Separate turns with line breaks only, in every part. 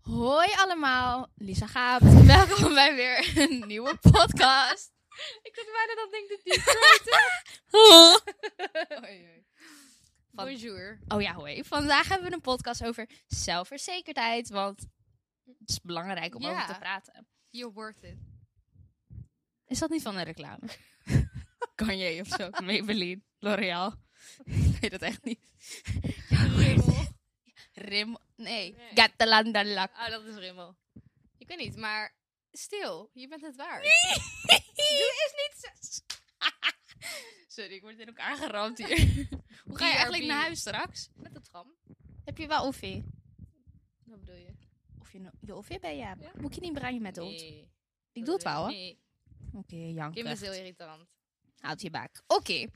Hoi allemaal, Lisa Gaap. Welkom bij weer een nieuwe podcast.
Ik zat bijna dat ding te diep.
Oei, oei. Van-
Bonjour.
Oh ja, hoi. Vandaag hebben we een podcast over zelfverzekerdheid, want het is belangrijk om
Ja.
over te praten.
You're worth it.
Is dat niet van een reclame? Kanye of zo, Maybelline, L'Oreal. Ik weet het echt niet.
Rimmel.
Rim, nee,
Nee.
Gatalanda Lak.
Ah, dat is Rimmel. Ik weet niet, maar stil, je bent het waard.
is niet Sorry, ik word in elkaar geramd hier. Hoe ga je eigenlijk
BRB.
naar huis straks?
Met de tram.
Heb je wel offie?
Wat bedoel je?
Of je, no- je offie bij je hebt.
Ja.
Moet je niet brengen met ons.
Nee.
Ik doe het wel, hè?
Nee,
Oké, jank.
Kim is heel irritant.
Houd je baak. Oké.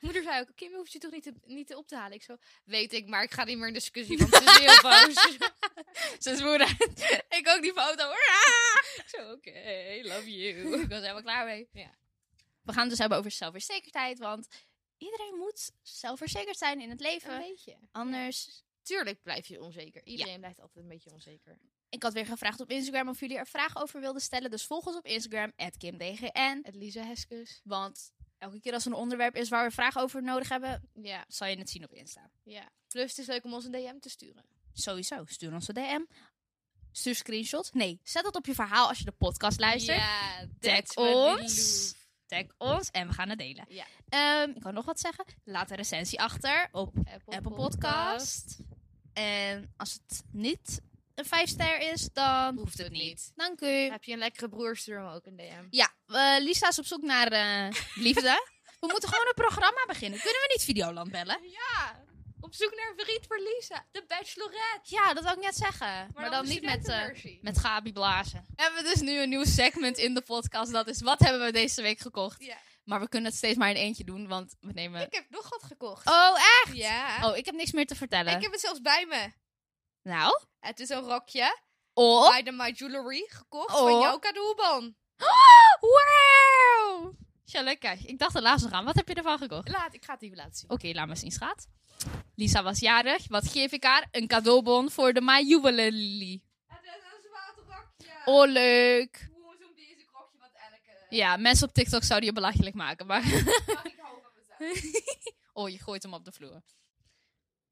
Moeder zei ook, Kim hoeft je toch niet, te, niet te op te halen? Ik zo, weet ik, maar ik ga niet meer in discussie, want ze is heel boos.
Ze is moeder. ik ook die foto hoor. Ah!
ik zo, oké, love you.
Ik was helemaal klaar mee.
Ja.
We gaan het dus hebben over zelfverzekerdheid. Want iedereen moet zelfverzekerd zijn in het
Een
leven.
beetje.
Anders.
Tuurlijk blijf je onzeker. Iedereen blijft altijd een beetje onzeker.
Ik had weer gevraagd op Instagram of jullie er vragen over wilden stellen. Dus volg ons op Instagram, KimDGN.
Het Lisa Heskes.
Want elke keer als er een onderwerp is waar we vragen over nodig hebben,
Ja,
zal je het zien op Insta.
ja. Plus het is leuk om ons een DM te sturen.
Sowieso, stuur ons een DM. Stuur screenshots. Nee, zet dat op je verhaal als je de podcast luistert.
Ja,
Tag
that's what we
ons.
love.
Tag ons en we gaan het delen.
Ja.
Ehm, ik kan nog wat zeggen. Laat een recensie achter op
Apple,
Apple Podcast. En als het niet een 5 ster is, dan
Hoeft het niet.
Dank u.
Heb je een lekkere broer, stuur hem ook een DM.
Ja, eh, Lisa is op zoek naar eh, liefde. we moeten gewoon een programma beginnen. Kunnen we niet Videoland bellen?
Ja, op zoek naar een vriend voor Lisa. De Bachelorette.
Ja, dat wou ik net zeggen. Maar,
Maar,
dan, niet met, eh,
versie.
met Gabi Blazen. We hebben dus nu een nieuw segment in de podcast. Dat is, wat hebben we deze week gekocht?
Ja.
Maar we kunnen het steeds maar in eentje doen, want we nemen...
Ik heb nog wat gekocht.
Oh, echt?
Ja.
Oh, ik heb niks meer te vertellen.
Ik heb het zelfs bij me.
Nou,
Het is een rokje
oh.
bij de My Jewelry gekocht
Oh.
van jouw cadeaubon.
Wauw! Shalika, ik dacht er laatst nog aan. Wat heb je ervan gekocht?
Laat, ik ga het even laten zien.
Oké, laat maar zien, schat. Lisa was jarig. Wat geef ik haar? Een cadeaubon voor de My Jubilee.
Het is een zwart rokje.
Oh, leuk.
Hoe zo'n deze rokje wat elke.
Ja, mensen op TikTok zouden je belachelijk maken, maar...
Ik hou van mezelf.
Oh, je gooit hem op de vloer.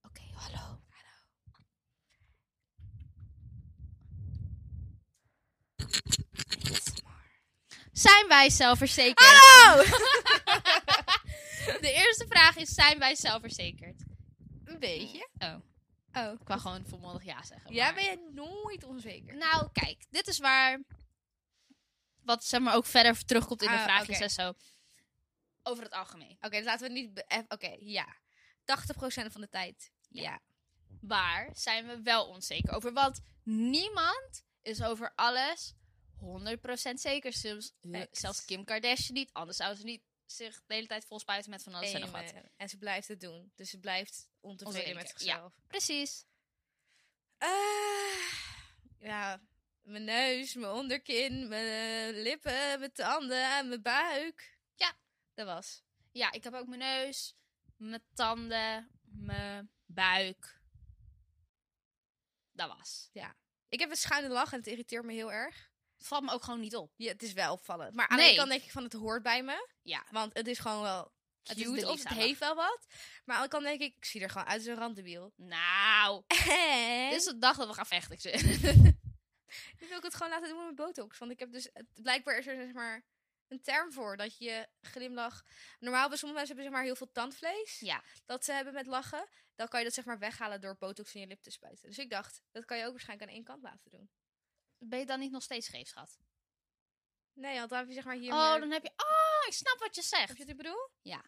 Oké, hallo. Hallo. Zijn wij zelfverzekerd? Hallo! Ah! de eerste vraag is, zijn wij zelfverzekerd?
Een beetje.
Oh,
Oh.
ik wou gewoon volmondig ja zeggen.
Ja,
maar-
ben je nooit onzeker?
Nou, kijk, dit is waar. Wat zeg maar ook verder terugkomt in de
Ah,
vraagjes
oké.
en zo. Over het algemeen.
Oké, dus laten we niet. be- eh, Oké, ja. 80% van de tijd. Ja.
Waar zijn we wel onzeker over? Want niemand is over alles 100% zeker. Soms,
Facts.
zelfs Kim Kardashian niet. Anders zou ze niet zich de hele tijd volspuiten met van alles en nog
Amen.
wat.
En ze blijft het doen. Dus ze blijft ontevreden
Onzeker,
met
ja.
zichzelf.
Precies.
Ah, ja. Mijn neus, mijn onderkin, mijn eh, lippen, mijn tanden, mijn buik.
Ja.
Dat was.
Ja, ik heb ook mijn neus, mijn tanden, mijn buik. Dat was.
Ik heb een schuine lach en het irriteert me heel erg.
Het valt me ook gewoon niet op.
Ja, het is wel opvallend. Maar aan de
Nee.
ene kant denk ik van het hoort bij me.
Ja.
Want het is gewoon wel
Het
cute
is de
of het
Lisa-lach.
heeft wel wat. Maar aan de andere kant denk ik, ik zie er gewoon uit als een randdebiel.
Nou,
En...
dit is de dag dat we gaan vechten. ik zeg.
Nu Dus wil ik het gewoon laten doen met botox. Want ik heb dus... het- Blijkbaar is er zeg maar een term voor. Dat je glimlach... Normaal hebben sommige mensen hebben zeg maar heel veel tandvlees.
Ja.
Dat ze hebben met lachen. Dan kan je dat zeg maar weghalen door botox in je lip te spuiten. Dus ik dacht, dat kan je ook waarschijnlijk aan één kant laten doen.
ben je dan niet nog steeds scheef, schat?
Nee, want dan heb je zeg maar hier...
oh,
meer-
dan heb je... Oh, ik snap wat je
Heb
zegt.
je wat ik bedoel?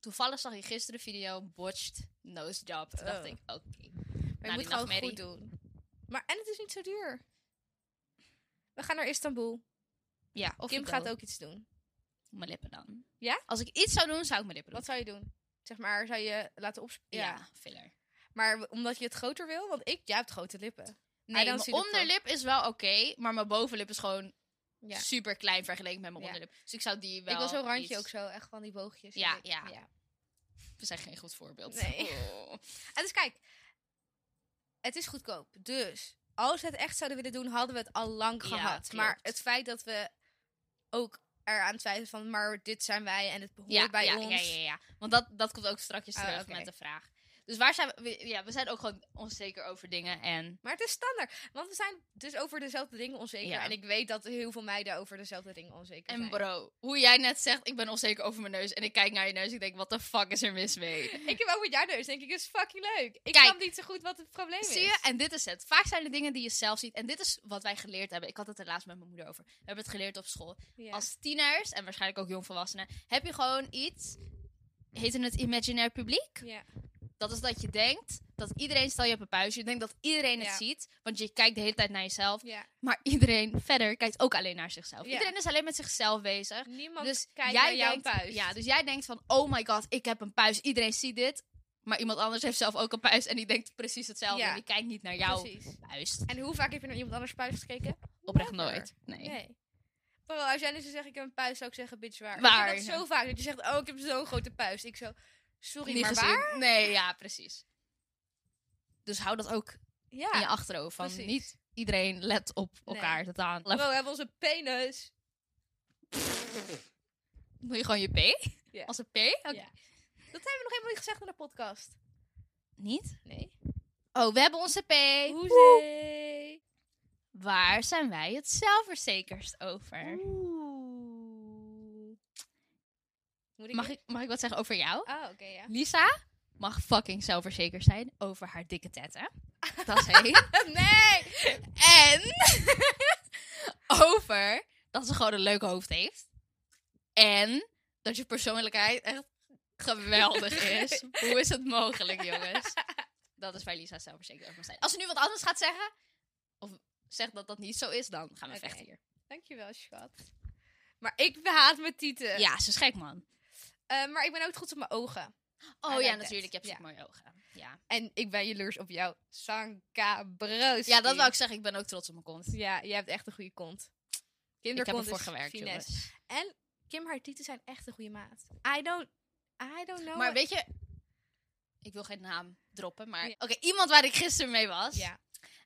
Toevallig zag je gisteren een video, botched, nose job. Toen dacht
Oh.
ik, oké. Nou,
Maar
die
je moet gewoon
nachtmerrie.
goed doen. Maar en het is niet zo duur. We gaan naar Istanbul.
Ja, of
Kim
ik
gaat
doe
ook iets doen.
Mijn lippen dan.
Ja?
Als ik iets zou doen, zou ik mijn lippen doen.
Wat zou je doen? Zeg maar, zou je laten opspelen?
ja. filler.
Maar w- omdat je het groter wil? Want ik, jij hebt grote lippen.
Nee,
dan
mijn onderlip is wel oké, maar mijn bovenlip is gewoon
Ja.
super klein vergeleken met mijn
Ja.
onderlip. Dus ik zou die wel
Ik wil zo'n randje
iets-
ook zo, echt van die boogjes.
Ja,
Ik-
ja. We zijn geen goed voorbeeld.
Nee.
Oh.
En dus kijk, het is goedkoop. Dus als we het echt zouden willen doen, hadden we het al lang
Ja,
gehad.
klopt.
maar het feit dat we ook eraan twijfelen van, maar dit zijn wij en het behoort
Ja,
bij
ja,
ons.
ja, ja, ja. Want dat, dat komt ook strakjes
Oh,
terug
oké.
met de vraag. Dus waar zijn we- we? Ja, we zijn ook gewoon onzeker over dingen. En
Maar het is standaard. Want we zijn dus over dezelfde dingen onzeker.
Ja.
En ik weet dat heel veel meiden over dezelfde dingen onzeker
En
zijn.
bro, hoe jij net zegt, ik ben onzeker over mijn neus. En ik kijk naar je neus en ik denk, wat de fuck is er mis mee?
Ik heb ook met jouw neus, denk ik, is fucking leuk. Ik
Kijk.
snap niet zo goed wat het probleem is.
Zie je? En dit is het. Vaak zijn de dingen die je zelf ziet. En dit is wat wij geleerd hebben. Ik had het er laatst met mijn moeder over. We hebben het geleerd op school.
Ja.
Als tieners, en waarschijnlijk ook jongvolwassenen, heb je gewoon iets... Heette het imaginair publiek?
Ja.
Dat is dat je denkt dat iedereen... Stel je hebt een puistje, je denkt dat iedereen het
Ja.
ziet. Want je kijkt de hele tijd naar jezelf.
ja.
Maar iedereen verder kijkt ook alleen naar zichzelf.
Ja.
Iedereen is alleen met zichzelf bezig.
Niemand
dus
kijkt
jij
naar jouw
denkt,
puist.
Ja, dus jij denkt van, oh my god, ik heb een puist. Iedereen ziet dit. Maar iemand anders heeft zelf ook een puist en die denkt precies hetzelfde.
Ja.
En die kijkt niet naar jouw
Precies.
puist.
En hoe vaak heb je naar iemand anders puist gekeken?
Oprecht
Never.
nooit. Nee.
Nee. Bro, als jij nu zou zeggen, ik heb een puist, zou ik zeggen, bitch, waar?
Waar,
Ik hoor dat
ja.
zo vaak, dat je zegt, oh, ik heb zo'n grote puist. Ik zo, sorry,
Niet
maar
gezien.
waar?
Nee, ja, precies. Dus hou dat ook
Ja,
in je achterhoofd. Van
precies.
niet iedereen let op
Nee.
elkaar. Dat aan.
Bro, we hebben onze penis.
Doe je gewoon je P?
Ja.
Als een P? Oké.
Ja. Dat hebben we nog helemaal niet gezegd in de podcast.
Niet?
Nee.
Oh, we hebben onze P.
Hoezee.
Waar zijn wij het zelfverzekerst over?
Oeh. Moet ik
Mag
weer?
ik, mag ik wat zeggen over jou?
Oh, oké, ja.
Lisa mag fucking zelfverzekerd zijn over haar dikke tetten. Dat is één.
nee!
en over dat ze gewoon een leuk hoofd heeft. En dat je persoonlijkheid echt geweldig is. Hoe is het mogelijk, jongens? Dat is waar Lisa zelfverzekerd over mag zijn. Als ze nu wat anders gaat zeggen, of zegt dat dat niet zo is, dan gaan we
Oké.
vechten hier.
Dankjewel, schat. Maar ik haat mijn tieten.
Ja, ze is gek, man.
Eh, maar ik ben ook trots op mijn ogen.
Oh
like
ja,
that.
natuurlijk. Je hebt
Ja.
zo'n mooie ogen. Ja.
En ik ben jaloers op jou. Sanka broos.
ja, dat wil ik zeggen. Ik ben ook trots op mijn kont.
Ja, jij hebt echt een goede kont.
Ik heb
Kinderkont
ervoor
is
gewerkt,
finesse.
jongens.
En Kim, haar tieten zijn echt een goede maat. I don't, I don't
Maar
know. what-
weet je, ik wil geen naam droppen, maar
Ja.
oké, iemand waar ik gisteren mee was,
Ja.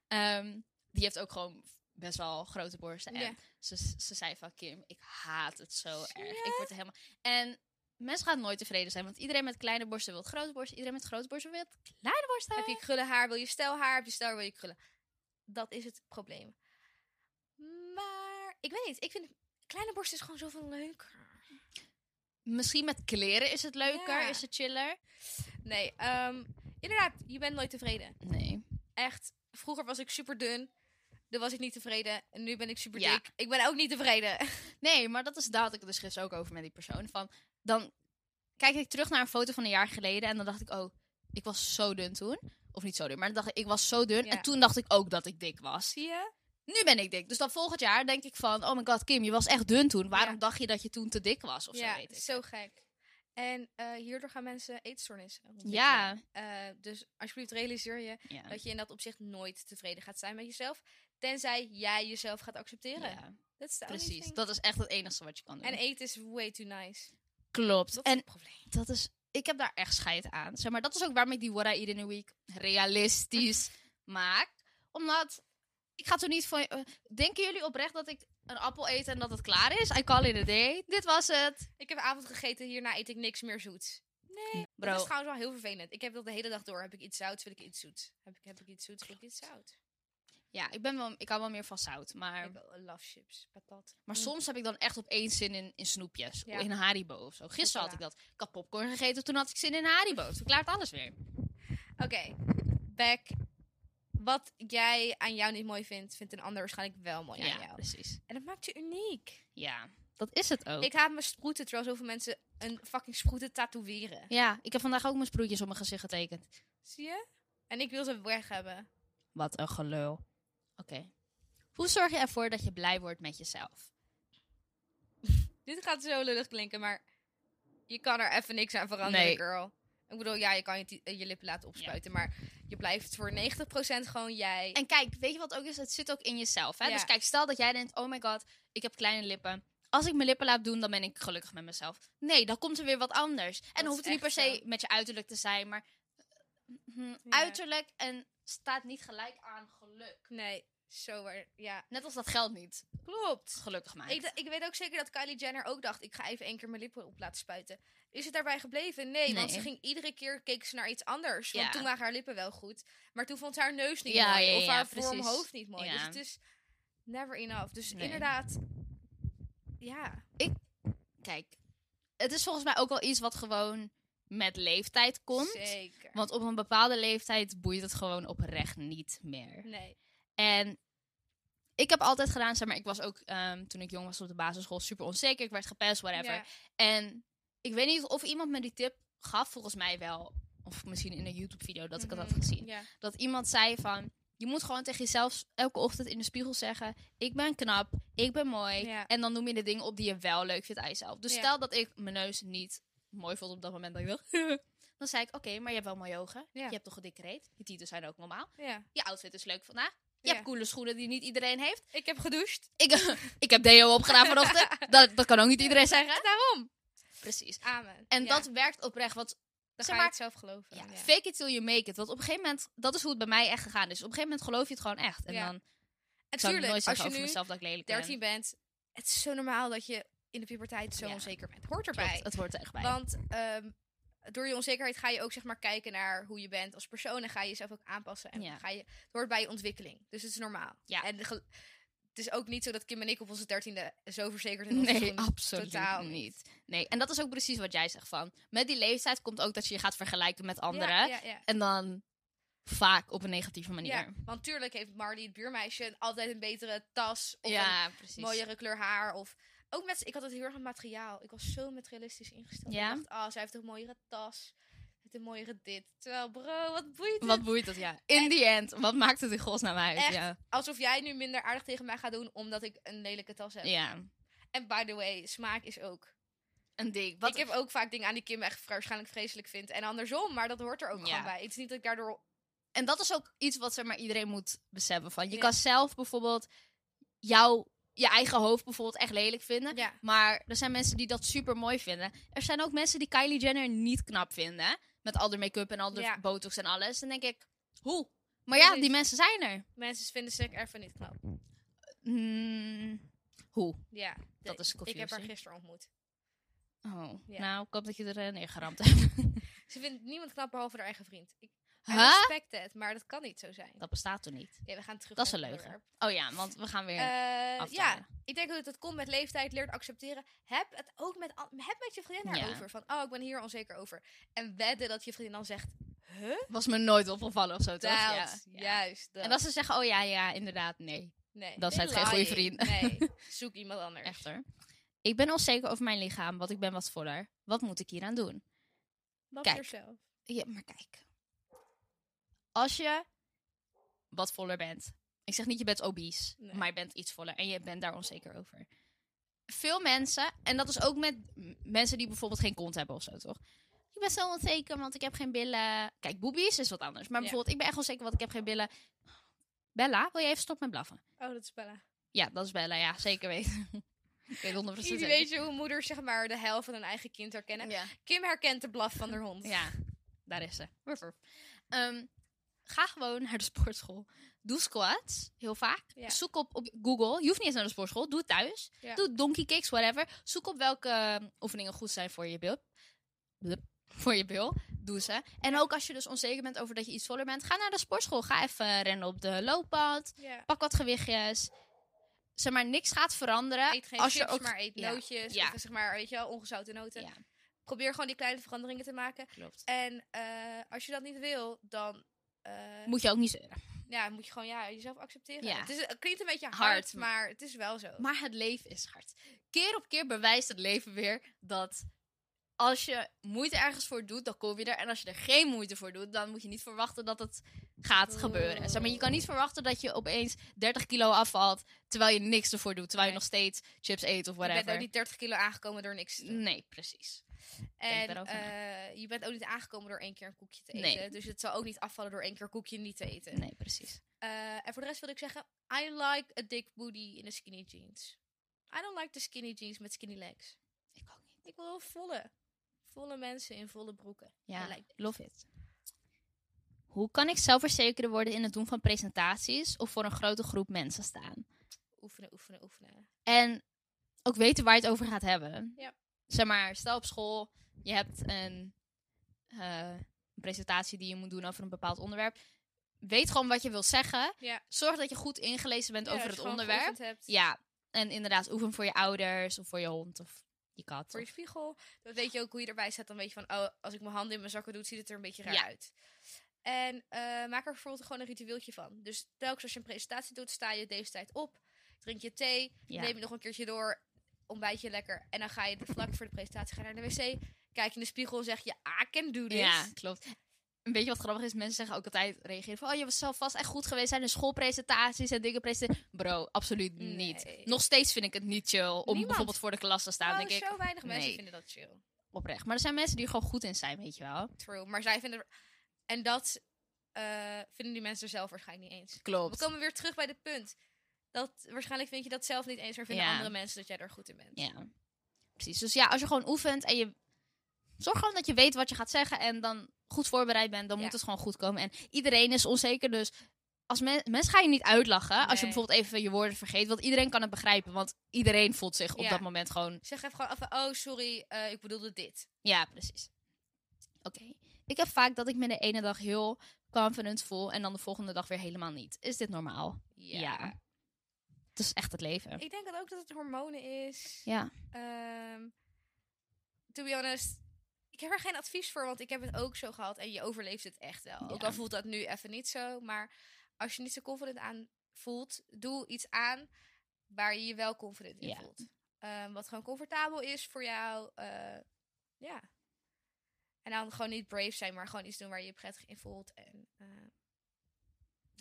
ehm, die heeft ook gewoon best wel grote borsten. En
Ja.
ze, ze zei van Kim, ik haat het zo
Zie
erg.
je?
Ik word er helemaal. En mensen gaan nooit tevreden zijn, want iedereen met kleine borsten wil grote borsten, iedereen met grote borsten wil kleine borsten.
Heb je krullen haar, wil je stijl haar, heb je stijl haar, wil je krullen. Dat is het probleem. Maar ik weet niet, ik vind kleine borsten is gewoon zoveel leuker.
Misschien met kleren is het leuker,
Ja.
is het chiller.
Nee, ehm, inderdaad, je bent nooit tevreden.
Nee.
Echt, vroeger was ik super dun. Dan was ik niet tevreden. En nu ben ik super
Ja.
dik. Ik ben ook niet tevreden.
Nee, maar dat is daar had ik het dus gisteren ook over met die persoon. Van, dan kijk ik terug naar een foto van een jaar geleden en dan dacht ik, oh, ik was zo dun toen. Of niet zo dun, maar dan dacht ik, ik was zo dun.
Ja.
En toen dacht ik ook dat ik dik was.
Zie je?
Nu ben ik dik. Dus dan volgend jaar denk ik van, oh my god, Kim, je was echt dun toen. Waarom
Ja.
dacht je dat je toen te dik was? Of
ja,
zo weet ik.
zo gek. En eh, hierdoor gaan mensen eetstoornissen ontwikkelen.
Ja,
Eh, dus alsjeblieft realiseer je
ja.
dat je in dat opzicht nooit tevreden gaat zijn met jezelf. Tenzij jij jezelf gaat accepteren.
Ja,
Dat is de only
precies.
thing.
Dat is echt het enige wat je kan doen.
En eten is way too nice.
Klopt.
Dat is
en
het probleem.
dat is, ik heb daar echt scheid aan. Zeg maar, dat is ook waarom ik die What I Eat in a Week realistisch maak. Omdat, ik ga toch niet van... eh, denken jullie oprecht dat ik een appel eet en dat het klaar is? I call it a day. Dit was het.
Ik heb avond gegeten, hierna eet ik niks meer zoets.
Bro,
Dat is trouwens wel heel vervelend. Ik heb dat de hele dag door. Heb ik iets zouts, wil ik iets zoets. Heb ik, heb ik iets zoets, wil ik iets zout.
ja, ik, ben wel, ik hou wel meer van zout. Maar,
Ik eh, love chips, patat.
maar
Mm.
soms heb ik dan echt opeens zin in, in snoepjes.
Ja.
In Haribo of zo. Gisteren had
Chocola.
ik dat. Ik had popcorn gegeten, toen had ik zin in Haribo. Toen klaart alles weer.
Oké, back. Wat jij aan jou niet mooi vindt, vindt een ander waarschijnlijk wel mooi
ja,
aan jou.
precies.
En dat maakt je uniek.
Ja, dat is het ook.
Ik haat mijn sproeten, terwijl zoveel mensen een fucking sproeten tatoeëren.
Ja, ik heb vandaag ook mijn sproetjes op mijn gezicht getekend.
Zie je? En ik wil ze weg hebben.
Wat een gelul. Oké. Hoe zorg je ervoor dat je blij wordt met jezelf?
Dit gaat zo lullig klinken, maar je kan er even niks aan veranderen,
Nee.
girl. Ik bedoel, ja, je kan je, ti- eh, je lippen laten opspuiten, maar je blijft voor 90% gewoon jij.
En kijk, weet je wat ook is? Het zit ook in jezelf. Hè?
Ja.
Dus kijk, stel dat jij denkt, oh my god, ik heb kleine lippen. Als ik mijn lippen laat doen, dan ben ik gelukkig met mezelf. Nee, dan komt er weer wat anders. En dan
is
hoeft het niet per
echt
se
zo.
met je uiterlijk te zijn, maar eh, Mhm.
Ja.
Uiterlijk en staat niet gelijk aan geluk.
Nee, zo waar. Ja,
Net als dat geld niet
klopt.
gelukkig maakt.
Ik, d- ik weet ook zeker dat Kylie Jenner ook dacht, ik ga even één keer mijn lippen op laten spuiten. Is het daarbij gebleven? Nee, want
Nee.
ze ging iedere keer keek ze naar iets anders. Want
Ja.
toen waren haar lippen wel goed. Maar toen vond ze haar neus niet
Ja,
mooi.
ja,
of
ja,
haar
precies.
vorm hoofd niet mooi. Dus
Ja.
het is never enough. Dus
Nee.
inderdaad, ja.
Kijk, het is volgens mij ook wel iets wat gewoon met leeftijd komt.
Zeker.
Want op een bepaalde leeftijd boeit het gewoon oprecht niet meer.
Nee.
En ik heb altijd gedaan, zeg maar, ik was ook ehm, toen ik jong was op de basisschool super onzeker. Ik werd gepest, whatever.
Ja.
En ik weet niet of iemand me die tip gaf, volgens mij wel. Of misschien in een YouTube-video dat ik het had
Mhm.
gezien.
Ja.
Dat iemand zei van, je moet gewoon tegen jezelf elke ochtend in de spiegel zeggen... Ik ben knap, ik ben mooi.
Ja.
En dan noem je de dingen op die je wel leuk vindt aan jezelf. Dus
Ja.
stel dat ik mijn neus niet mooi vond op dat moment dat ik dacht... dan zei ik, oké, maar je hebt wel mooie ogen.
Ja.
Je hebt toch een dikke reet. Je tieten zijn ook normaal.
ja.
Je outfit is leuk vandaag. Je
Ja.
hebt coole schoenen die niet iedereen heeft.
Ik heb gedoucht.
Ik, ik heb deo opgedaan vanochtend. Dat, dat kan ook niet iedereen zeggen.
Daarom.
Precies.
Amen.
En
Ja.
dat werkt oprecht. Want
Dan
zeg
ga je
maar-
het zelf geloven.
ja,
Ja.
fake it till you make it. Want op een gegeven moment, dat is hoe het bij mij echt gegaan is. Op een gegeven moment geloof je het gewoon echt. En
Ja.
dan
En
zou ik
tuurlijk,
nooit
als
zeggen
je
over
nu
mezelf dat ik lelijk
13
ben.
bent, het is zo normaal dat je in de puberteit zo
Ja.
onzeker bent. Hoort erbij.
Klopt, het wordt er echt bij.
Want ehm, door je onzekerheid ga je ook zeg maar kijken naar hoe je bent als persoon en ga je jezelf ook aanpassen. En
Ja.
ga je, het hoort bij je ontwikkeling. Dus het is normaal.
Ja.
En gel- het is ook niet zo dat Kim en ik op onze dertiende zo verzekerd in onze
nee,
schoenen-
absoluut
totaal
niet. Nee, en dat is ook precies wat jij zegt van. Met die leeftijd komt ook dat je je gaat vergelijken met anderen.
Ja, ja, ja.
En dan vaak op een negatieve manier.
Ja, want tuurlijk heeft Marley, het buurmeisje, altijd een betere tas of een
Ja, precies.
mooiere kleur haar. Of ook met, ik had het heel erg aan materiaal. Ik was zo materialistisch ingesteld.
Ja?
Ik dacht, ah, zij heeft een mooiere tas. Ze heeft een mooiere dit. Terwijl, bro, wat boeit het?
Wat boeit dat, ja. In the end, wat maakt het in godsnaam uit?
Echt.
Ja.
Alsof jij nu minder aardig tegen mij gaat doen omdat ik een lelijke tas heb.
ja,
En by the way, smaak is ook.
een ding. Wat
Ik heb ook vaak dingen aan die Kim echt waarschijnlijk vreselijk vindt. En andersom, maar dat hoort er ook
Ja.
gewoon bij. Het is niet dat ik daardoor...
En dat is ook iets wat zeg maar, iedereen moet beseffen. Van. Je
Ja.
kan zelf bijvoorbeeld jouw, je eigen hoofd bijvoorbeeld echt lelijk vinden.
Ja.
Maar er zijn mensen die dat super mooi vinden. Er zijn ook mensen die Kylie Jenner niet knap vinden. Met al haar make-up en al haar
Ja.
botox en alles. Dan denk ik, hoe? Maar ja,
Precies.
die mensen zijn er.
Mensen vinden ze even niet knap.
Mm, hoe?
Ja,
Dat is
ik heb haar
confusing.
gisteren ontmoet.
Oh,
Ja.
nou, ik hoop dat je er eh, neergeramd hebt.
Ze vindt niemand knap behalve haar eigen vriend. Ik I
Huh?
respect het, maar dat kan niet zo zijn.
Dat bestaat toch niet?
Oké, we gaan terug
Dat is
naar
een
het
leugen.
onderwerp.
Oh ja, want we gaan weer
Eh, ja,
afdalen.
ik denk dat het komt met leeftijd, leert accepteren. Heb het ook met, an- heb met je vriendin
Ja.
daarover. Van, oh, ik ben hier onzeker over. En wedden dat je vriendin dan zegt, huh?
Was me nooit opgevallen of zo, toch?
Dat,
Ja. Ja.
juist. Dat.
En dat ze zeggen, oh ja, ja, inderdaad, nee.
nee,
dan zijn het
they're
geen goede
lying. Nee, zoek iemand anders.
Echt hoor. Ik ben onzeker over mijn lichaam, want ik ben wat voller. Wat moet ik hieraan doen?
Love
Kijk.
yourself.
Ja, maar kijk. Als je wat voller bent. Ik zeg niet je bent obese,
Nee.
maar je bent iets voller en je bent daar onzeker over. Veel mensen, en dat is ook met m- mensen die bijvoorbeeld geen kont hebben of zo, toch? Ik ben zo onzeker, want ik heb geen billen. Kijk, boobies is wat anders. Maar
Ja.
bijvoorbeeld, ik ben echt onzeker, want ik heb geen billen. Bella, wil je even stoppen met blaffen?
Oh, dat is Bella.
Ja, dat is Bella, ja, zeker weten. ik weet 100%
Jullie
zeker.
weten hoe moeders zeg maar, de hel van hun eigen kind herkennen.
e- Ja.
Kim herkent de blaf van haar hond.
Ja, daar is ze. Wurf, wurf. Ehm, ga gewoon naar de sportschool. Doe squats, heel vaak.
Ja.
Zoek op, op Google. Je hoeft niet eens naar de sportschool. Doe het thuis.
Ja.
Doe donkey kicks, whatever. Zoek op welke ehm, oefeningen goed zijn voor je bil. Blup. Voor je bil. Doe ze. En ook als je dus onzeker bent over dat je iets voller bent, ga naar de sportschool. Ga even eh, rennen op de loopband.
Ja.
Pak wat gewichtjes. Zeg maar, niks gaat veranderen.
Eet geen
als
chips,
je ook...
maar eet
Ja.
nootjes.
Ja.
Of zeg maar, weet je wel, ongezouten noten.
Ja,
Probeer gewoon die kleine veranderingen te maken.
klopt.
En eh, als je dat niet wil, dan eh,
Moet je ook niet zeuren.
ja, moet je gewoon ja, jezelf accepteren.
Ja.
Het, is, het klinkt een beetje hard,
Hard, maar-
maar het is wel zo.
Maar het leven is hard. Keer op keer bewijst het leven weer dat als je moeite ergens voor doet, dan kom je er. En als je er geen moeite voor doet, dan moet je niet verwachten dat het gaat
Oh.
gebeuren. Zeg maar, je kan niet verwachten dat je opeens 30 kilo afvalt terwijl je niks ervoor doet. Terwijl je nog
Nee.
steeds chips eet of
je bent
whatever.
ook niet 30 kilo aangekomen door niks te doen.
Nee, precies. denk
en
daarover na.
eh, je bent ook niet aangekomen door één keer een koekje te
Nee.
eten. Dus het zal ook niet afvallen door één keer een koekje niet te eten.
Nee, precies.
Eh, en voor de rest wil ik zeggen, I like a dick booty in a skinny jeans. I don't like the skinny jeans met skinny legs.
Ik ook niet.
Ik wil volle, volle mensen in volle broeken. I
Ja,
like that.
love it. Hoe kan ik zelfverzekerder worden in het doen van presentaties of voor een grote groep mensen staan?
Oefenen, oefenen, oefenen.
En ook weten waar je het over gaat hebben.
Ja.
Zeg maar, stel op school, je hebt een, eh, een presentatie die je moet doen over een bepaald onderwerp. Weet gewoon wat je wilt zeggen.
Ja.
Zorg dat je goed ingelezen bent
Ja,
over
als
het
je gewoon
onderwerp.
geoefend hebt
Ja, en inderdaad, oefen voor je ouders of voor je hond of je kat.
Voor je
Of...
spiegel. Dan weet je ook hoe je erbij staat. Dan weet je van, oh, als ik mijn handen in mijn zakken doe, ziet het er een beetje raar
Ja.
uit. En eh, maak er bijvoorbeeld gewoon een ritueeltje van. Dus telkens als je een presentatie doet, sta je deze tijd op. Drink je thee.
Ja.
Neem je nog een keertje door. Ontbijt je lekker. En dan ga je dus vlak voor de presentatie ga je naar de wc. Kijk in de spiegel en zeg je, ah, I can do this.
Ja, klopt. Een beetje wat grappig is, mensen zeggen ook altijd reageren van... oh, je zal vast echt goed geweest zijn in schoolpresentaties en dingen presenteren. Bro, absoluut niet.
Nee.
Nog steeds vind ik het niet chill om
Niemand.
bijvoorbeeld voor de klas te staan.
Oh,
nou, denk ik,
zo weinig mensen
nee.
vinden dat chill.
oprecht. Maar er zijn mensen die er gewoon goed in zijn, weet je wel.
True. Maar zij vinden... En dat eh, vinden die mensen zelf waarschijnlijk niet eens. We
Klopt.
komen weer terug bij het punt. Dat, waarschijnlijk vind je dat zelf niet eens, maar vinden
Ja.
andere mensen dat jij er goed in bent.
Ja, precies. Dus ja, als je gewoon oefent en je... Zorg gewoon dat je weet wat je gaat zeggen en dan goed voorbereid bent. Dan
Ja.
moet het gewoon goed komen. En iedereen is onzeker, dus... Als men, mensen gaan je niet uitlachen als je
Nee.
bijvoorbeeld even je woorden vergeet. Want iedereen kan het begrijpen. Want iedereen voelt zich op
Ja.
dat moment gewoon
Zeg even gewoon af, oh sorry, eh, ik bedoelde dit.
Ja, precies. Oké. Ik heb vaak dat ik me de ene dag heel confident voel en dan de volgende dag weer helemaal niet. Is dit normaal? Het is echt het leven.
Ik denk dat ook dat het hormonen is.
Ja.
Ehm, to be honest, ik heb er geen advies voor, want ik heb het ook zo gehad en je overleeft het echt wel. Ook
Ja.
al voelt dat nu even niet zo, maar als je niet zo confident aan voelt, doe iets aan waar je je wel confident in
Ja.
voelt. Ehm, wat gewoon comfortabel is voor jou. eh, ja. En dan gewoon niet brave zijn, maar gewoon iets doen waar je je prettig in voelt. En, eh,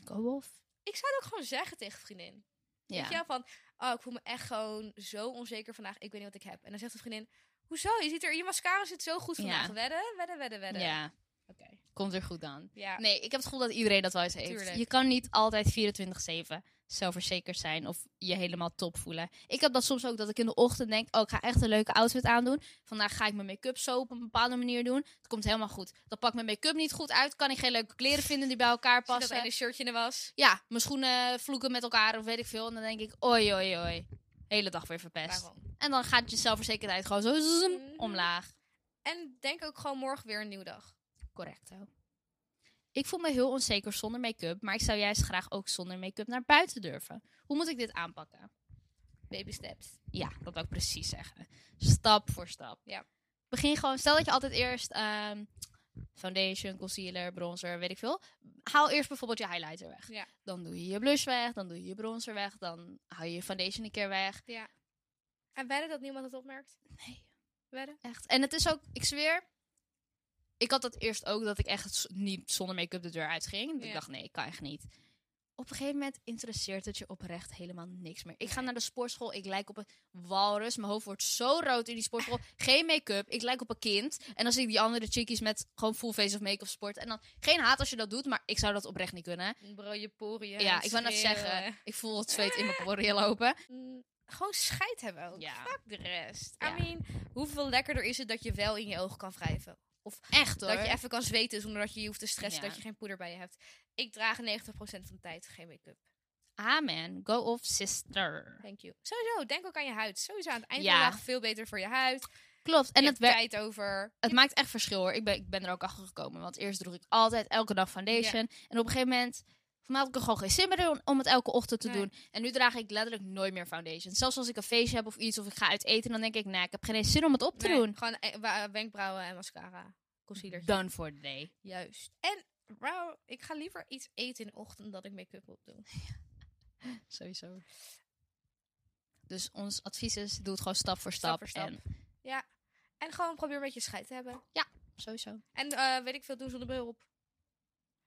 Go off.
ik zou het ook gewoon zeggen tegen vriendin. Weet je
Ja.
wel, van, oh, ik voel me echt gewoon zo onzeker vandaag. Ik weet niet wat ik heb. En dan zegt de vriendin, hoezo? Je ziet er, je mascara zit zo goed
Ja.
vandaag. Wedden, wedden, wedden, wedden.
Ja. Nou,
Oké.
Komt weer goed dan.
Ja.
Nee, ik heb het gevoel dat iedereen dat wel eens heeft.
Tuurlijk.
Je kan niet altijd 24-7 zelfverzekerd zijn of je helemaal top voelen. Ik heb dat soms ook dat ik in de ochtend denk, oh, ik ga echt een leuke outfit aandoen. Vandaag ga ik mijn make-up zo op een bepaalde manier doen. Het komt helemaal goed. Dan pak ik mijn make-up niet goed uit, kan ik geen leuke kleren vinden die bij elkaar
Pas dat
passen.
ene shirtje in de was.
ja, mijn schoenen vloeken met elkaar of weet ik veel. En dan denk ik, oi, oi, oi. Hele dag weer verpest.
Waarom?
En dan gaat je zelfverzekerdheid gewoon zo zoem,
Mhm.
omlaag.
En denk ook gewoon morgen weer een nieuwe dag.
Correcto. Ik voel me heel onzeker zonder make-up, maar ik zou juist graag ook zonder make-up naar buiten durven. Hoe moet ik dit aanpakken?
Baby steps.
Ja, dat wil ik precies zeggen. Stap voor stap.
Ja.
Begin gewoon, stel dat je altijd eerst ehm, foundation, concealer, bronzer, weet ik veel. Haal eerst bijvoorbeeld je highlighter weg.
Ja.
Dan doe je je blush weg, dan doe je je bronzer weg, dan hou je je foundation een keer weg.
Ja. En wedden dat niemand het opmerkt?
Nee,
Wedden?
echt. En het is ook, ik zweer, ik had dat eerst ook dat ik echt z- niet zonder make-up de deur uitging. Dat Ik
Ja.
dacht, nee, ik kan echt niet. Op een gegeven moment interesseert het je oprecht helemaal niks meer. Ik ga naar de sportschool, ik lijk op een walrus. Mijn hoofd wordt zo rood in die sportschool. Geen make-up, ik lijk op een kind. En dan zie ik die andere chickies met gewoon full face of make-up sport. En dan geen haat als je dat doet, maar ik zou dat oprecht niet kunnen.
Bro, je poriën.
Ja, ik wou net zeggen, ik voel het zweet in mijn poriën lopen.
Mm, Gewoon scheid hebben ook.
Ja.
Fuck de rest.
Ja.
I mean, hoeveel lekkerder is het dat je wel in je ogen kan wrijven?
Echt hoor.
Dat je even kan zweten zonder dat je je hoeft te stressen
Ja.
dat je geen poeder bij je hebt. Ik draag 90% van de tijd geen make-up.
Amen, go off sister.
Thank you. Sowieso, denk ook aan je huid. Sowieso aan het eind
Ja.
van de dag veel beter voor je huid.
Klopt, en
En
het
het
werkt.
tijd over.
Het maakt echt verschil hoor. Ik ben, ik ben er ook achter gekomen. Want eerst droeg ik altijd elke dag foundation. En op een gegeven moment. Voor mij had ik er gewoon geen zin meer in om het elke ochtend te
Nee.
doen. En nu draag ik letterlijk nooit meer foundation. Zelfs als ik een feestje heb of iets. Of ik ga uit eten. Dan denk ik, nou, ik heb geen eens zin om het op te
Nee,
doen.
Gewoon e- wa- wenkbrauwen en mascara. Concealer.
Done for the day.
Juist. En wauw, ik ga liever iets eten in de ochtend dan ik make-up op doe.
Sowieso. Dus ons advies is, doe het gewoon stap voor stap.
Stap voor stap.
En
En gewoon probeer een beetje scheid te hebben.
sowieso.
En eh, weet ik veel, doen zonder bril op.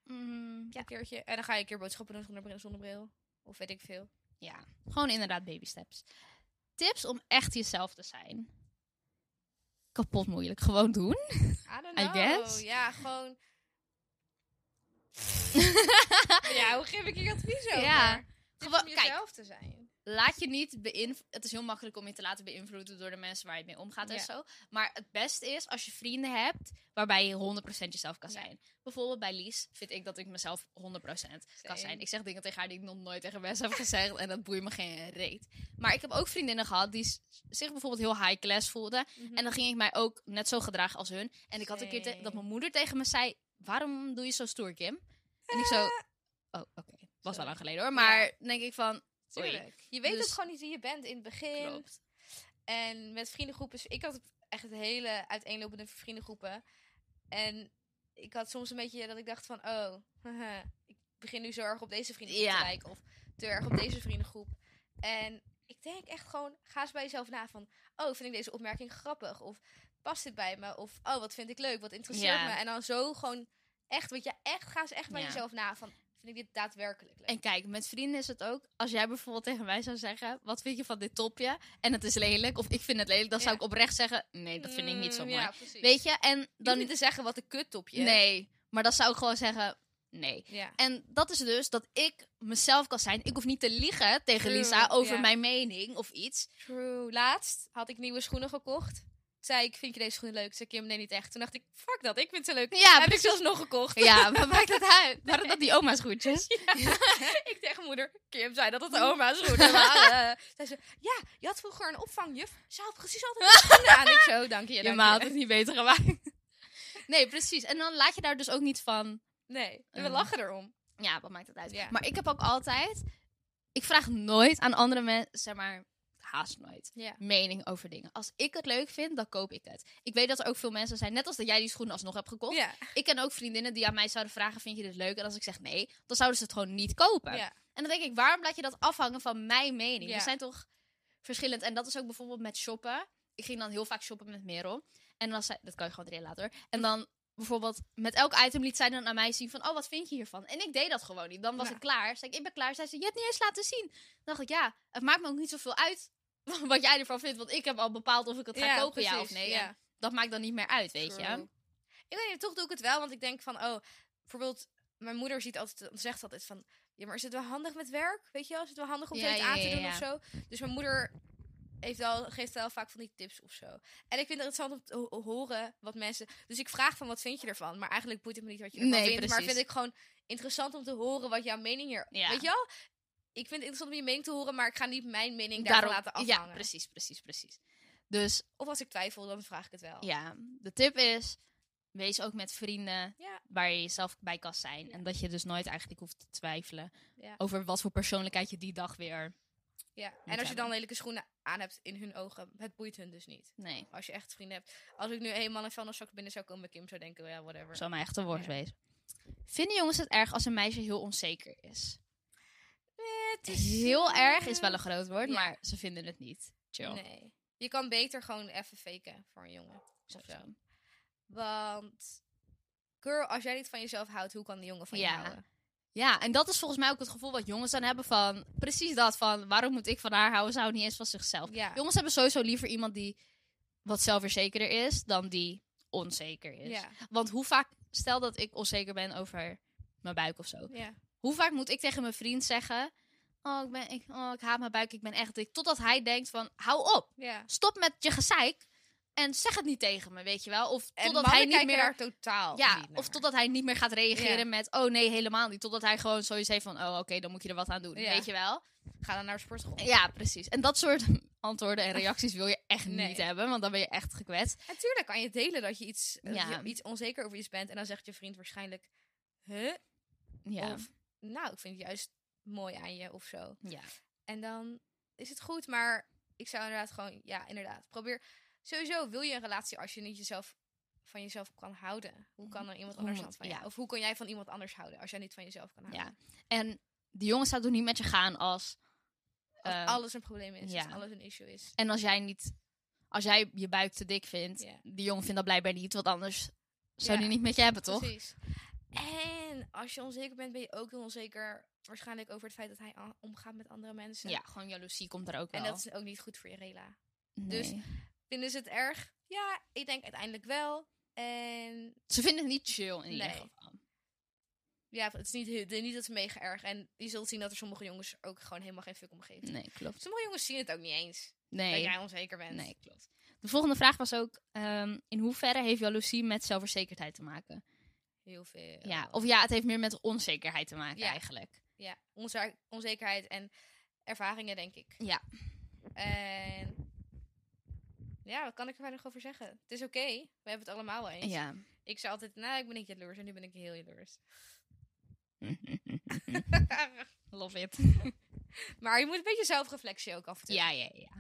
Mm,
Een keertje. En dan ga je een keer boodschappen doen zonder bril. Zonder bril. Of weet ik veel.
ja, gewoon inderdaad baby steps. Tips om echt jezelf te zijn. Kapot moeilijk. Gewoon doen.
I don't
I
know.
guess.
Ja, gewoon. ja, hoe geef ik je advies over?
Ja.
Dit is
Gewoon-
om
kijk.
jezelf te zijn.
laat je niet beïnvloeden. Het is heel makkelijk om je te laten beïnvloeden door de mensen waar je mee omgaat en
Ja.
zo. Maar het beste is als je vrienden hebt waarbij je 100% jezelf kan
Ja.
zijn. Bijvoorbeeld bij Lies vind ik dat ik mezelf 100% kan
Same.
zijn. Ik zeg dingen tegen haar die ik nog nooit tegen mensen heb gezegd en dat boeit me geen reet. Maar ik heb ook vriendinnen gehad die s- zich bijvoorbeeld heel high class voelden.
Mhm.
En dan ging ik mij ook net zo gedragen als hun. En ik had een keer te-
Same.
dat mijn moeder tegen me zei: Waarom doe je zo stoer, Kim? En ik zo. Oh, oké. Was wel
Sorry.
lang geleden hoor.
Ja.
Maar dan denk ik van. oei,
Tuurlijk. Je weet
Dus-
het gewoon niet wie je bent in het begin.
Klopt.
En met vriendengroepen. is- Ik had echt hele uiteenlopende vriendengroepen. En ik had soms een beetje dat ik dacht van... Oh, haha, ik begin nu zo erg op deze vriendengroep
Ja.
te lijken. Of te erg op deze vriendengroep. En ik denk echt gewoon... Ga eens bij jezelf na van... Oh, vind ik deze opmerking grappig? Of past dit bij me? Of oh, wat vind ik leuk? Wat interesseert
Ja.
me? En dan zo gewoon echt... Want je echt, ga eens echt bij
Ja.
jezelf na van... Vind ik dit daadwerkelijk leuk?
En kijk, met vrienden is het ook. Als jij bijvoorbeeld tegen mij zou zeggen: Wat vind je van dit topje? En het is lelijk. Of ik vind het lelijk. Dan zou
Ja.
ik oprecht zeggen: Nee, dat vind ik niet zo
Mm,
mooi.
Ja, precies.
Weet je? En
dan
dan.
niet te zeggen wat een kuttopje.
Nee. Maar dan zou ik gewoon zeggen: Nee.
Ja.
En dat is dus dat ik mezelf kan zijn. Ik hoef niet te liegen tegen
True,
Lisa over
ja.
mijn mening of iets.
True. Laatst had ik nieuwe schoenen gekocht. Zei ik, vind je deze schoenen leuk? Toen zei Kim, nee, niet echt. Toen dacht ik, fuck dat, ik vind ze leuk.
Ja,
Heb ik zelfs nog gekocht.
Ja, maar maakt het uit? Waren dat die oma's goedjes?
ik tegen moeder, Kim zei dat het de oma's schoenen waren. zei ze, ja, je had vroeger een opvangjuf. Ze had precies altijd die schoenen aan. Ik zo, dank je,
Je
dank
maat het niet beter gemaakt. Nee, precies. En dan laat je daar dus ook niet van.
Nee, we
Eh.
lachen erom.
Ja, wat maakt het uit?
Ja.
Maar ik heb ook altijd. Ik vraag nooit aan andere mensen, zeg maar, haast nooit.
Ja.
Mening over dingen. Als ik het leuk vind, dan koop ik het. Ik weet dat er ook veel mensen zijn, net als dat jij die schoenen alsnog hebt gekocht.
Ja,
Ik ken ook vriendinnen die aan mij zouden vragen: vind je dit leuk? En als ik zeg nee, dan zouden ze het gewoon niet kopen.
ja.
En dan denk ik, waarom laat je dat afhangen van mijn mening?
Ja.
We zijn toch verschillend. En dat is ook bijvoorbeeld met shoppen. Ik ging dan heel vaak shoppen met Merel. En dan zei, dat kan je gewoon erin laten hoor. En dan bijvoorbeeld met elk item liet zij dan aan mij zien van, oh wat vind je hiervan? En ik deed dat gewoon niet. Dan was
Ja.
ik klaar. Zei ik, ik ben klaar. Zei ze, je hebt niet eens laten zien. Dan dacht ik, ja, het maakt me ook niet zoveel uit wat jij ervan vindt. Want ik heb al bepaald of ik het ga
Ja,
kopen, ja of
precies,
nee. En Dat maakt dan niet meer uit, weet je.
True. Ik weet niet, toch doe ik het wel, want ik denk van, oh, bijvoorbeeld, mijn moeder ziet altijd, zegt altijd van, ja, maar is het wel handig met werk? Weet je wel, is het wel handig om
Ja,
zoiets
ja,
aan te
ja,
doen
ja.
of zo? Dus mijn moeder heeft wel, geeft wel vaak van die tips of zo. En ik vind het interessant om te ho- horen wat mensen... Dus ik vraag van, wat vind je ervan? Maar eigenlijk boeit het me niet wat je ervan
Nee,
vindt. Maar
precies.
vind ik gewoon interessant om te horen wat jouw mening hier...
Ja.
Weet je wel? Ik vind het interessant om je mening te horen, maar ik ga niet mijn mening daarvan
Daarom-
laten
ja,
afhangen.
precies, precies, precies. Dus
of als ik twijfel, dan vraag ik het wel.
Ja, de tip is, wees ook met vrienden
Ja.
waar je jezelf bij kan zijn.
Ja.
En dat je dus nooit eigenlijk hoeft te twijfelen
Ja.
over wat voor persoonlijkheid je die dag weer...
Ja,
Moet
en als je dan
hebben.
lelijke schoenen aan hebt in hun ogen, het boeit hun dus niet.
Nee,
Als je echt vrienden hebt. Als ik nu eenmaal een vuilniszak binnen zou komen, Kim zou denken, ja, whatever.
zou mij echt een worst
Ja.
wezen. Vinden jongens het erg als een meisje heel onzeker is?
Het is,
Heel
eh,
erg is wel een groot woord,
ja.
maar ze vinden het niet. Chill.
Nee. Je kan beter gewoon even faken voor een jongen. Of
Sowieso.
zo. Want, girl, als jij niet van jezelf houdt, hoe kan de jongen van je
Ja.
houden?
Ja, en dat is volgens mij ook het gevoel wat jongens dan hebben van... Precies dat, van waarom moet ik van haar houden? Ze houdt niet eens van zichzelf.
Ja.
Jongens hebben sowieso liever iemand die wat zelfverzekerder is dan die onzeker is.
Ja.
Want hoe vaak, stel dat ik onzeker ben over mijn buik of zo.
ja.
Hoe vaak moet ik tegen mijn vriend zeggen: Oh, ik, ben, ik, oh, ik haat mijn buik, ik ben echt dik. Totdat hij denkt: van, Hou op,
ja.
stop met je gezeik en zeg het niet tegen me, weet je wel. Of
En
totdat
mannen
hij niet
kijken
meer.
daar totaal
ja,
niet
of
naar.
totdat hij niet meer gaat reageren
Ja.
met: Oh nee, helemaal niet. Totdat hij gewoon zoiets heeft van: Oh, oké, dan moet je er wat aan doen,
Ja.
weet je wel.
Ga dan naar de sportschool.
Ja, precies. En dat soort antwoorden en reacties wil je echt
Nee.
niet hebben, want dan ben je echt gekwetst.
Natuurlijk kan je delen dat je iets, dat
Ja.
je iets onzeker over iets bent. En dan zegt je vriend waarschijnlijk, huh?
Ja.
Of, nou, ik vind het juist mooi aan je of zo.
ja.
En dan is het goed, maar ik zou inderdaad gewoon, ja, inderdaad. Probeer, sowieso wil je een relatie als je niet jezelf van jezelf kan houden. Hoe kan er iemand
Hoe
anders
moet-
dat van je?
ja.
Of hoe kan jij van iemand anders houden als jij niet van jezelf kan houden?
Ja. En die jongens zouden niet met je gaan als.
Als
eh,
alles een probleem is,
ja.
als alles een issue is.
En als jij niet. Als jij je buik te dik vindt,
Ja.
die jongen vindt dat blijkbaar niet. Want anders zou
Ja.
die niet met je hebben, toch?
Precies. En als je onzeker bent, ben je ook heel onzeker. Waarschijnlijk over het feit dat hij a- omgaat met andere mensen.
Ja, gewoon jaloezie komt er ook wel.
En dat is ook niet goed voor je rela.
Nee.
Vinden ze het erg? Ja, ik denk uiteindelijk wel. En
Ze vinden het niet chill in ieder
Nee.
geval.
Ja, het is niet, heel- niet dat ze mega erg. En je zult zien dat er sommige jongens ook gewoon helemaal geen fuck om geven.
Nee, klopt.
Sommige jongens zien het ook niet eens.
Nee,
Dat jij onzeker bent.
nee, klopt. De volgende vraag was ook, ehm, in hoeverre heeft jaloezie met zelfverzekerdheid te maken?
Heel veel.
Ja, of ja, het heeft meer met onzekerheid te maken
Ja.
eigenlijk.
Ja, onze onzekerheid en ervaringen, denk ik.
Ja.
En ja, wat kan ik er verder nog over zeggen? Het is oké, we hebben het allemaal wel eens.
Ja.
Ik zei altijd, nou, ik ben niet jaloers en nu ben ik heel jaloers.
Love it.
maar je moet een beetje zelfreflectie ook af en toe.
Ja, ja, ja.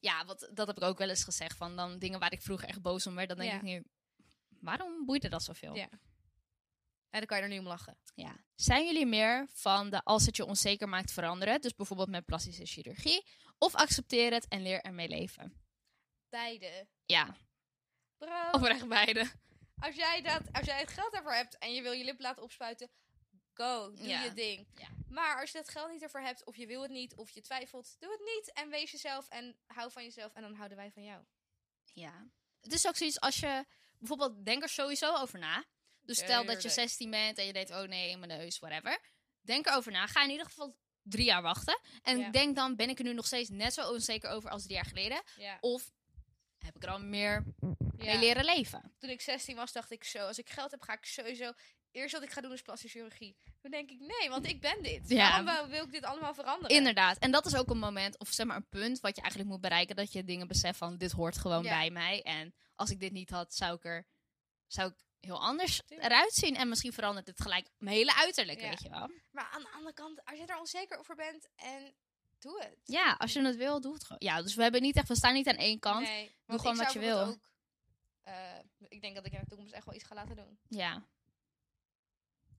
Ja, wat, dat heb ik ook wel eens gezegd. Van dan dingen waar ik vroeger echt boos om werd, dan denk
Ja.
ik nu, waarom boeide dat zoveel?
Ja. En dan kan je er nu om lachen.
Ja. Zijn jullie meer van de als het je onzeker maakt veranderen, dus bijvoorbeeld met plastische chirurgie, of accepteer het en leer ermee leven?
Beide.
Ja,
Bro,
oprecht beide.
als jij, dat, als jij het geld daarvoor hebt en je wil je lip laten opspuiten, go, doe
Ja.
je ding.
Ja.
Maar als je dat geld niet ervoor hebt, of je wil het niet, of je twijfelt, doe het niet. En wees jezelf en hou van jezelf en dan houden wij van jou.
Ja. Het is ook zoiets als je, bijvoorbeeld, denk er sowieso over na. Dus stel dat je
Tuurlijk.
16 bent en je denkt, oh nee, in mijn neus, whatever. Denk erover na. Ga in ieder geval drie jaar wachten. En
Ja.
denk dan, ben ik er nu nog steeds net zo onzeker over als drie jaar geleden?
Ja.
Of heb ik er al meer mee
ja.
leren leven?
Toen ik 16 was, dacht ik zo, als ik geld heb, ga ik sowieso... Eerst wat ik ga doen is plastische chirurgie. Toen denk ik, nee, want ik ben dit.
Ja.
Waarom wou- wil ik dit allemaal veranderen?
Inderdaad. En dat is ook een moment, of zeg maar een punt, wat je eigenlijk moet bereiken. Dat je dingen beseft van, dit hoort gewoon
Ja.
bij mij. En als ik dit niet had, zou ik er zou ik heel anders
Tuurlijk.
eruit zien. En misschien verandert het gelijk mijn hele uiterlijk,
Ja.
weet je wel.
Maar aan de andere kant, als je er onzeker over bent, en doe het.
Ja, als je het wil, doe het gewoon. Ja, dus we hebben niet echt, we staan niet aan één kant.
Nee,
Doe
want
gewoon
ik
wat
zou
je wil.
bijvoorbeeld Ook, eh, ik denk dat ik in de toekomst echt wel iets ga laten doen.
Ja.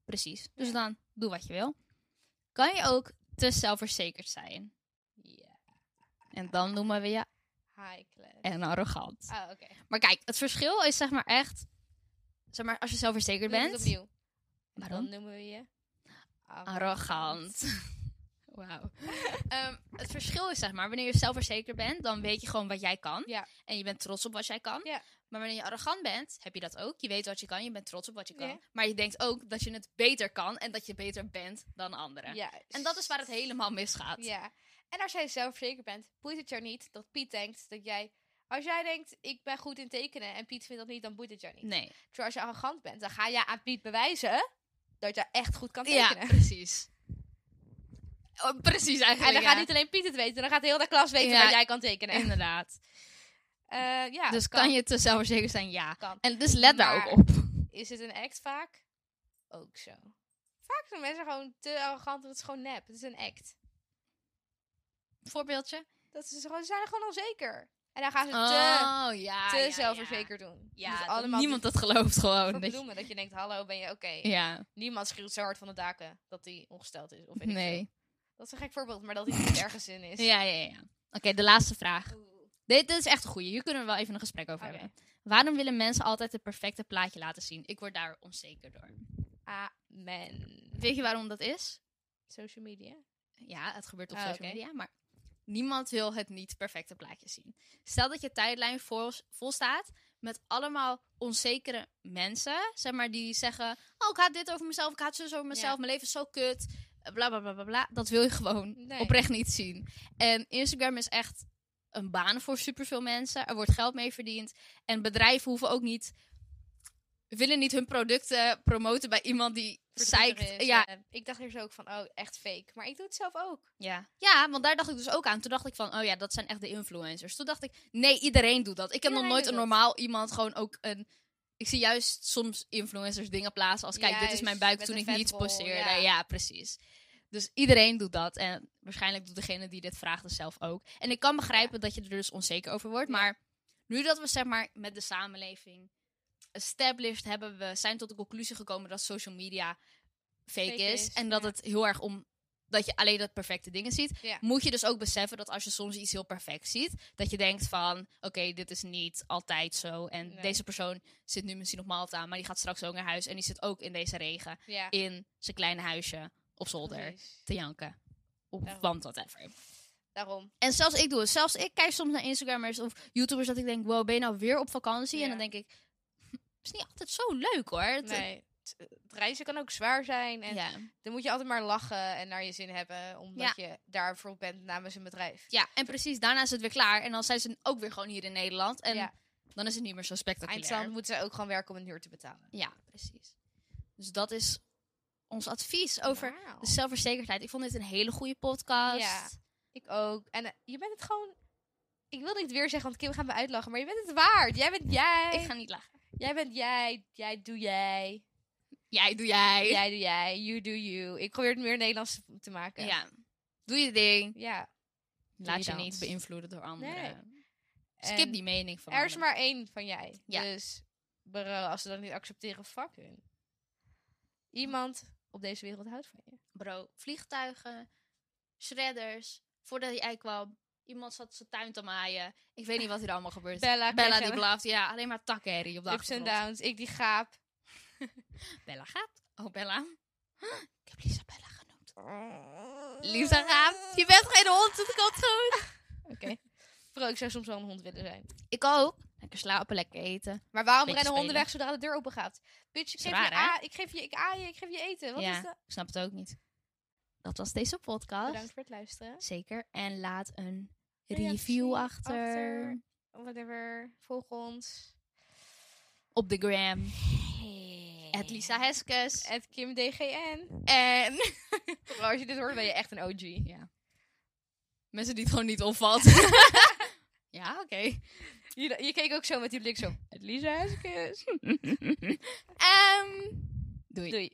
Precies. Dus
Ja.
dan doe wat je wil. Kan je ook te zelfverzekerd zijn?
Ja.
En dan noemen we je
High class.
en arrogant.
Ah, oké.
Maar kijk, het verschil is zeg maar echt. Zeg maar, als je zelfverzekerd
Doe het
bent.
opnieuw.
Waarom?
Dan noemen we je...
Arrogant. Wauw. Ehm, het verschil is zeg maar, wanneer je zelfverzekerd bent, dan weet je gewoon wat jij kan.
Ja.
En je bent trots op wat jij kan.
Ja.
Maar wanneer je arrogant bent, heb je dat ook. Je weet wat je kan, je bent trots op wat je kan.
Ja.
Maar je denkt ook dat je het beter kan en dat je beter bent dan anderen.
Ja.
En dat is waar het helemaal misgaat.
Ja. En als jij zelfverzekerd bent, boeit het jou niet dat Piet denkt dat jij... Als jij denkt, ik ben goed in tekenen en Piet vindt dat niet, dan boeit het jou niet.
Nee.
Terwijl als je arrogant bent, dan ga je aan Piet bewijzen dat je echt goed kan
Ja,
tekenen.
precies. Oh, precies
En
eigenlijk.
dan
ja.
gaat niet alleen Piet het weten, dan gaat heel de klas weten
Ja.
dat jij kan tekenen.
Inderdaad.
Eh, ja,
dus kan, je te zelfverzekerd zijn? Ja.
Kan.
En dus let daar
Maar-
ook op.
Is het een act vaak? Ook zo. Vaak zijn mensen gewoon te arrogant, want het is gewoon nep. Het is een act.
Voorbeeldje.
Dat ze, gewoon, ze zijn er gewoon onzeker. En dan gaan ze te,
oh ja. ja,
te
ja.
zelfverzekerd doen.
Ja,
Dus
dat
allemaal
niemand
die
dat gelooft gewoon.
voor
dat je-
bloemen, dat je denkt, hallo, ben je oké?
ja,
Niemand schreeuwt zo hard van de daken dat hij ongesteld is. Of weet ik veel.
nee.
Dat is een gek voorbeeld, maar dat hij niet ergens in is.
Ja, ja, ja. Oké, de laatste vraag.
Oeh.
Dit, dit is echt een goeie. Hier kunnen we wel even een gesprek over
Oké.
hebben. Waarom willen mensen altijd het perfecte plaatje laten zien? Ik word daar onzeker door.
Amen.
Weet je waarom dat is?
Social media.
Ja, het gebeurt op
Ah,
social
oké.
media, maar niemand wil het niet perfecte plaatje zien. Stel dat je tijdlijn vol, vol staat met allemaal onzekere mensen, zeg maar, die zeggen: Oh, ik haat dit over mezelf, ik haat zus over mezelf,
Ja.
mijn leven is zo kut, eh, bla bla bla bla. bla. Dat wil je gewoon
Nee.
oprecht niet zien. En Instagram is echt een baan voor superveel mensen. Er wordt geld mee verdiend. En bedrijven hoeven ook niet. willen niet hun producten promoten bij iemand die
Verdrietig
zeikt.
is,
Ja,
eh, Ik dacht eerst ook van, oh, echt fake. Maar ik doe het zelf ook.
ja. ja, want daar dacht ik dus ook aan. Toen dacht ik van, oh ja, dat zijn echt de influencers. Toen dacht ik, nee, iedereen doet dat. Ik heb nog
Iedereen
nooit een
doet
normaal iemand gewoon ook een... Ik zie juist soms influencers dingen plaatsen als, kijk, dit is mijn
Juist,
buik
met
toen
een
ik niets
vetrol,
posteerde. Ja.
ja.
precies. Dus iedereen doet dat. En waarschijnlijk doet degene die dit vraagt het zelf ook. En ik kan begrijpen dat je er dus onzeker over wordt.
Ja.
Maar nu dat we zeg maar met de samenleving established hebben, we zijn tot de conclusie gekomen dat social media fake,
Fake
is.
is,
En dat
ja.
het heel erg om dat je alleen dat perfecte dingen ziet,
Ja.
moet je dus ook beseffen dat als je soms iets heel perfect ziet, dat je denkt van, oké, dit is niet altijd zo. En
Nee.
deze persoon zit nu misschien nog Malta, aan, maar die gaat straks ook naar huis en die zit ook in deze regen
Ja.
in zijn kleine huisje op zolder
precies.
te janken. Of
Daarom.
want whatever.
Daarom.
En zelfs ik doe het. Zelfs ik kijk soms naar Instagrammers of YouTubers dat ik denk, wow, ben je nou weer op vakantie? En
Ja.
dan denk ik, het is niet altijd zo leuk hoor. Het-
Nee. het reizen kan ook zwaar zijn. En
ja.
dan moet je altijd maar lachen en naar je zin hebben. Omdat je daarvoor bent namens een bedrijf.
ja, en precies. Daarna is het weer klaar. En dan zijn ze ook weer gewoon hier in Nederland. En
ja.
dan is het niet meer zo
Eindstand
spectaculair.
moeten ze ook gewoon werken om een huur te betalen.
Ja, precies. Dus dat is ons advies over
Wauw.
de zelfverzekerdheid. Ik vond dit een hele goede podcast.
Ja. Ik ook. En eh, je bent het gewoon... Ik wil niet weer zeggen, want Kim gaat me uitlachen. Maar je bent het waard. Jij bent jij.
Ik ga niet lachen.
Jij bent jij. Jij doe jij.
Jij doe jij.
Jij doe jij. You do you. Ik probeer het meer Nederlands te maken.
Ja. Doe je ding.
Ja.
Laat je
dans.
niet beïnvloeden door anderen. Skip
En
die mening van
Er is
anderen.
maar één van jij.
Ja.
Dus bro, als ze dat niet accepteren, fuck hun. Iemand op deze wereld houdt van je.
Bro, vliegtuigen, shredders. Voordat jij kwam, iemand zat zijn tuin te maaien. Ik weet niet wat hier allemaal gebeurt.
Bella,
Dus Bella
kreeg
die
een-
blaft. Ja, alleen maar takkenherrie op de
Ups en
achtergrond.
downs. Ik die gaap.
Bella gaat. Oh, Bella. Ik heb Lisa Bella genoemd. Lisa gaat. Je bent geen hond, het komt goed.
Oké. Bro, ik zou soms wel een hond willen zijn.
Ik ook. Lekker slapen, lekker eten.
Maar waarom
Beetje
rennen honden
spelen.
weg zodra de deur open gaat? Bitch, ik
Is
geef,
raar, hè?
je, a- ik geef je ik aai je, ik geef je eten. Wat
Ja.
is dat?
Ik snap het ook niet. Dat was deze podcast.
Bedankt voor het luisteren.
Zeker. En laat een
Reactie
review achter.
achter. Whatever. Volg ons.
Op de gram. At Lisa Heskes.
At Kim DGN.
En
Bro, als je dit hoort, ben je echt een OG.
mensen die het gewoon niet opvalt. ja, oké.
Je, je keek ook zo met die blik zo. Het Lisa Heskes.
Ehm, doei.
Doei.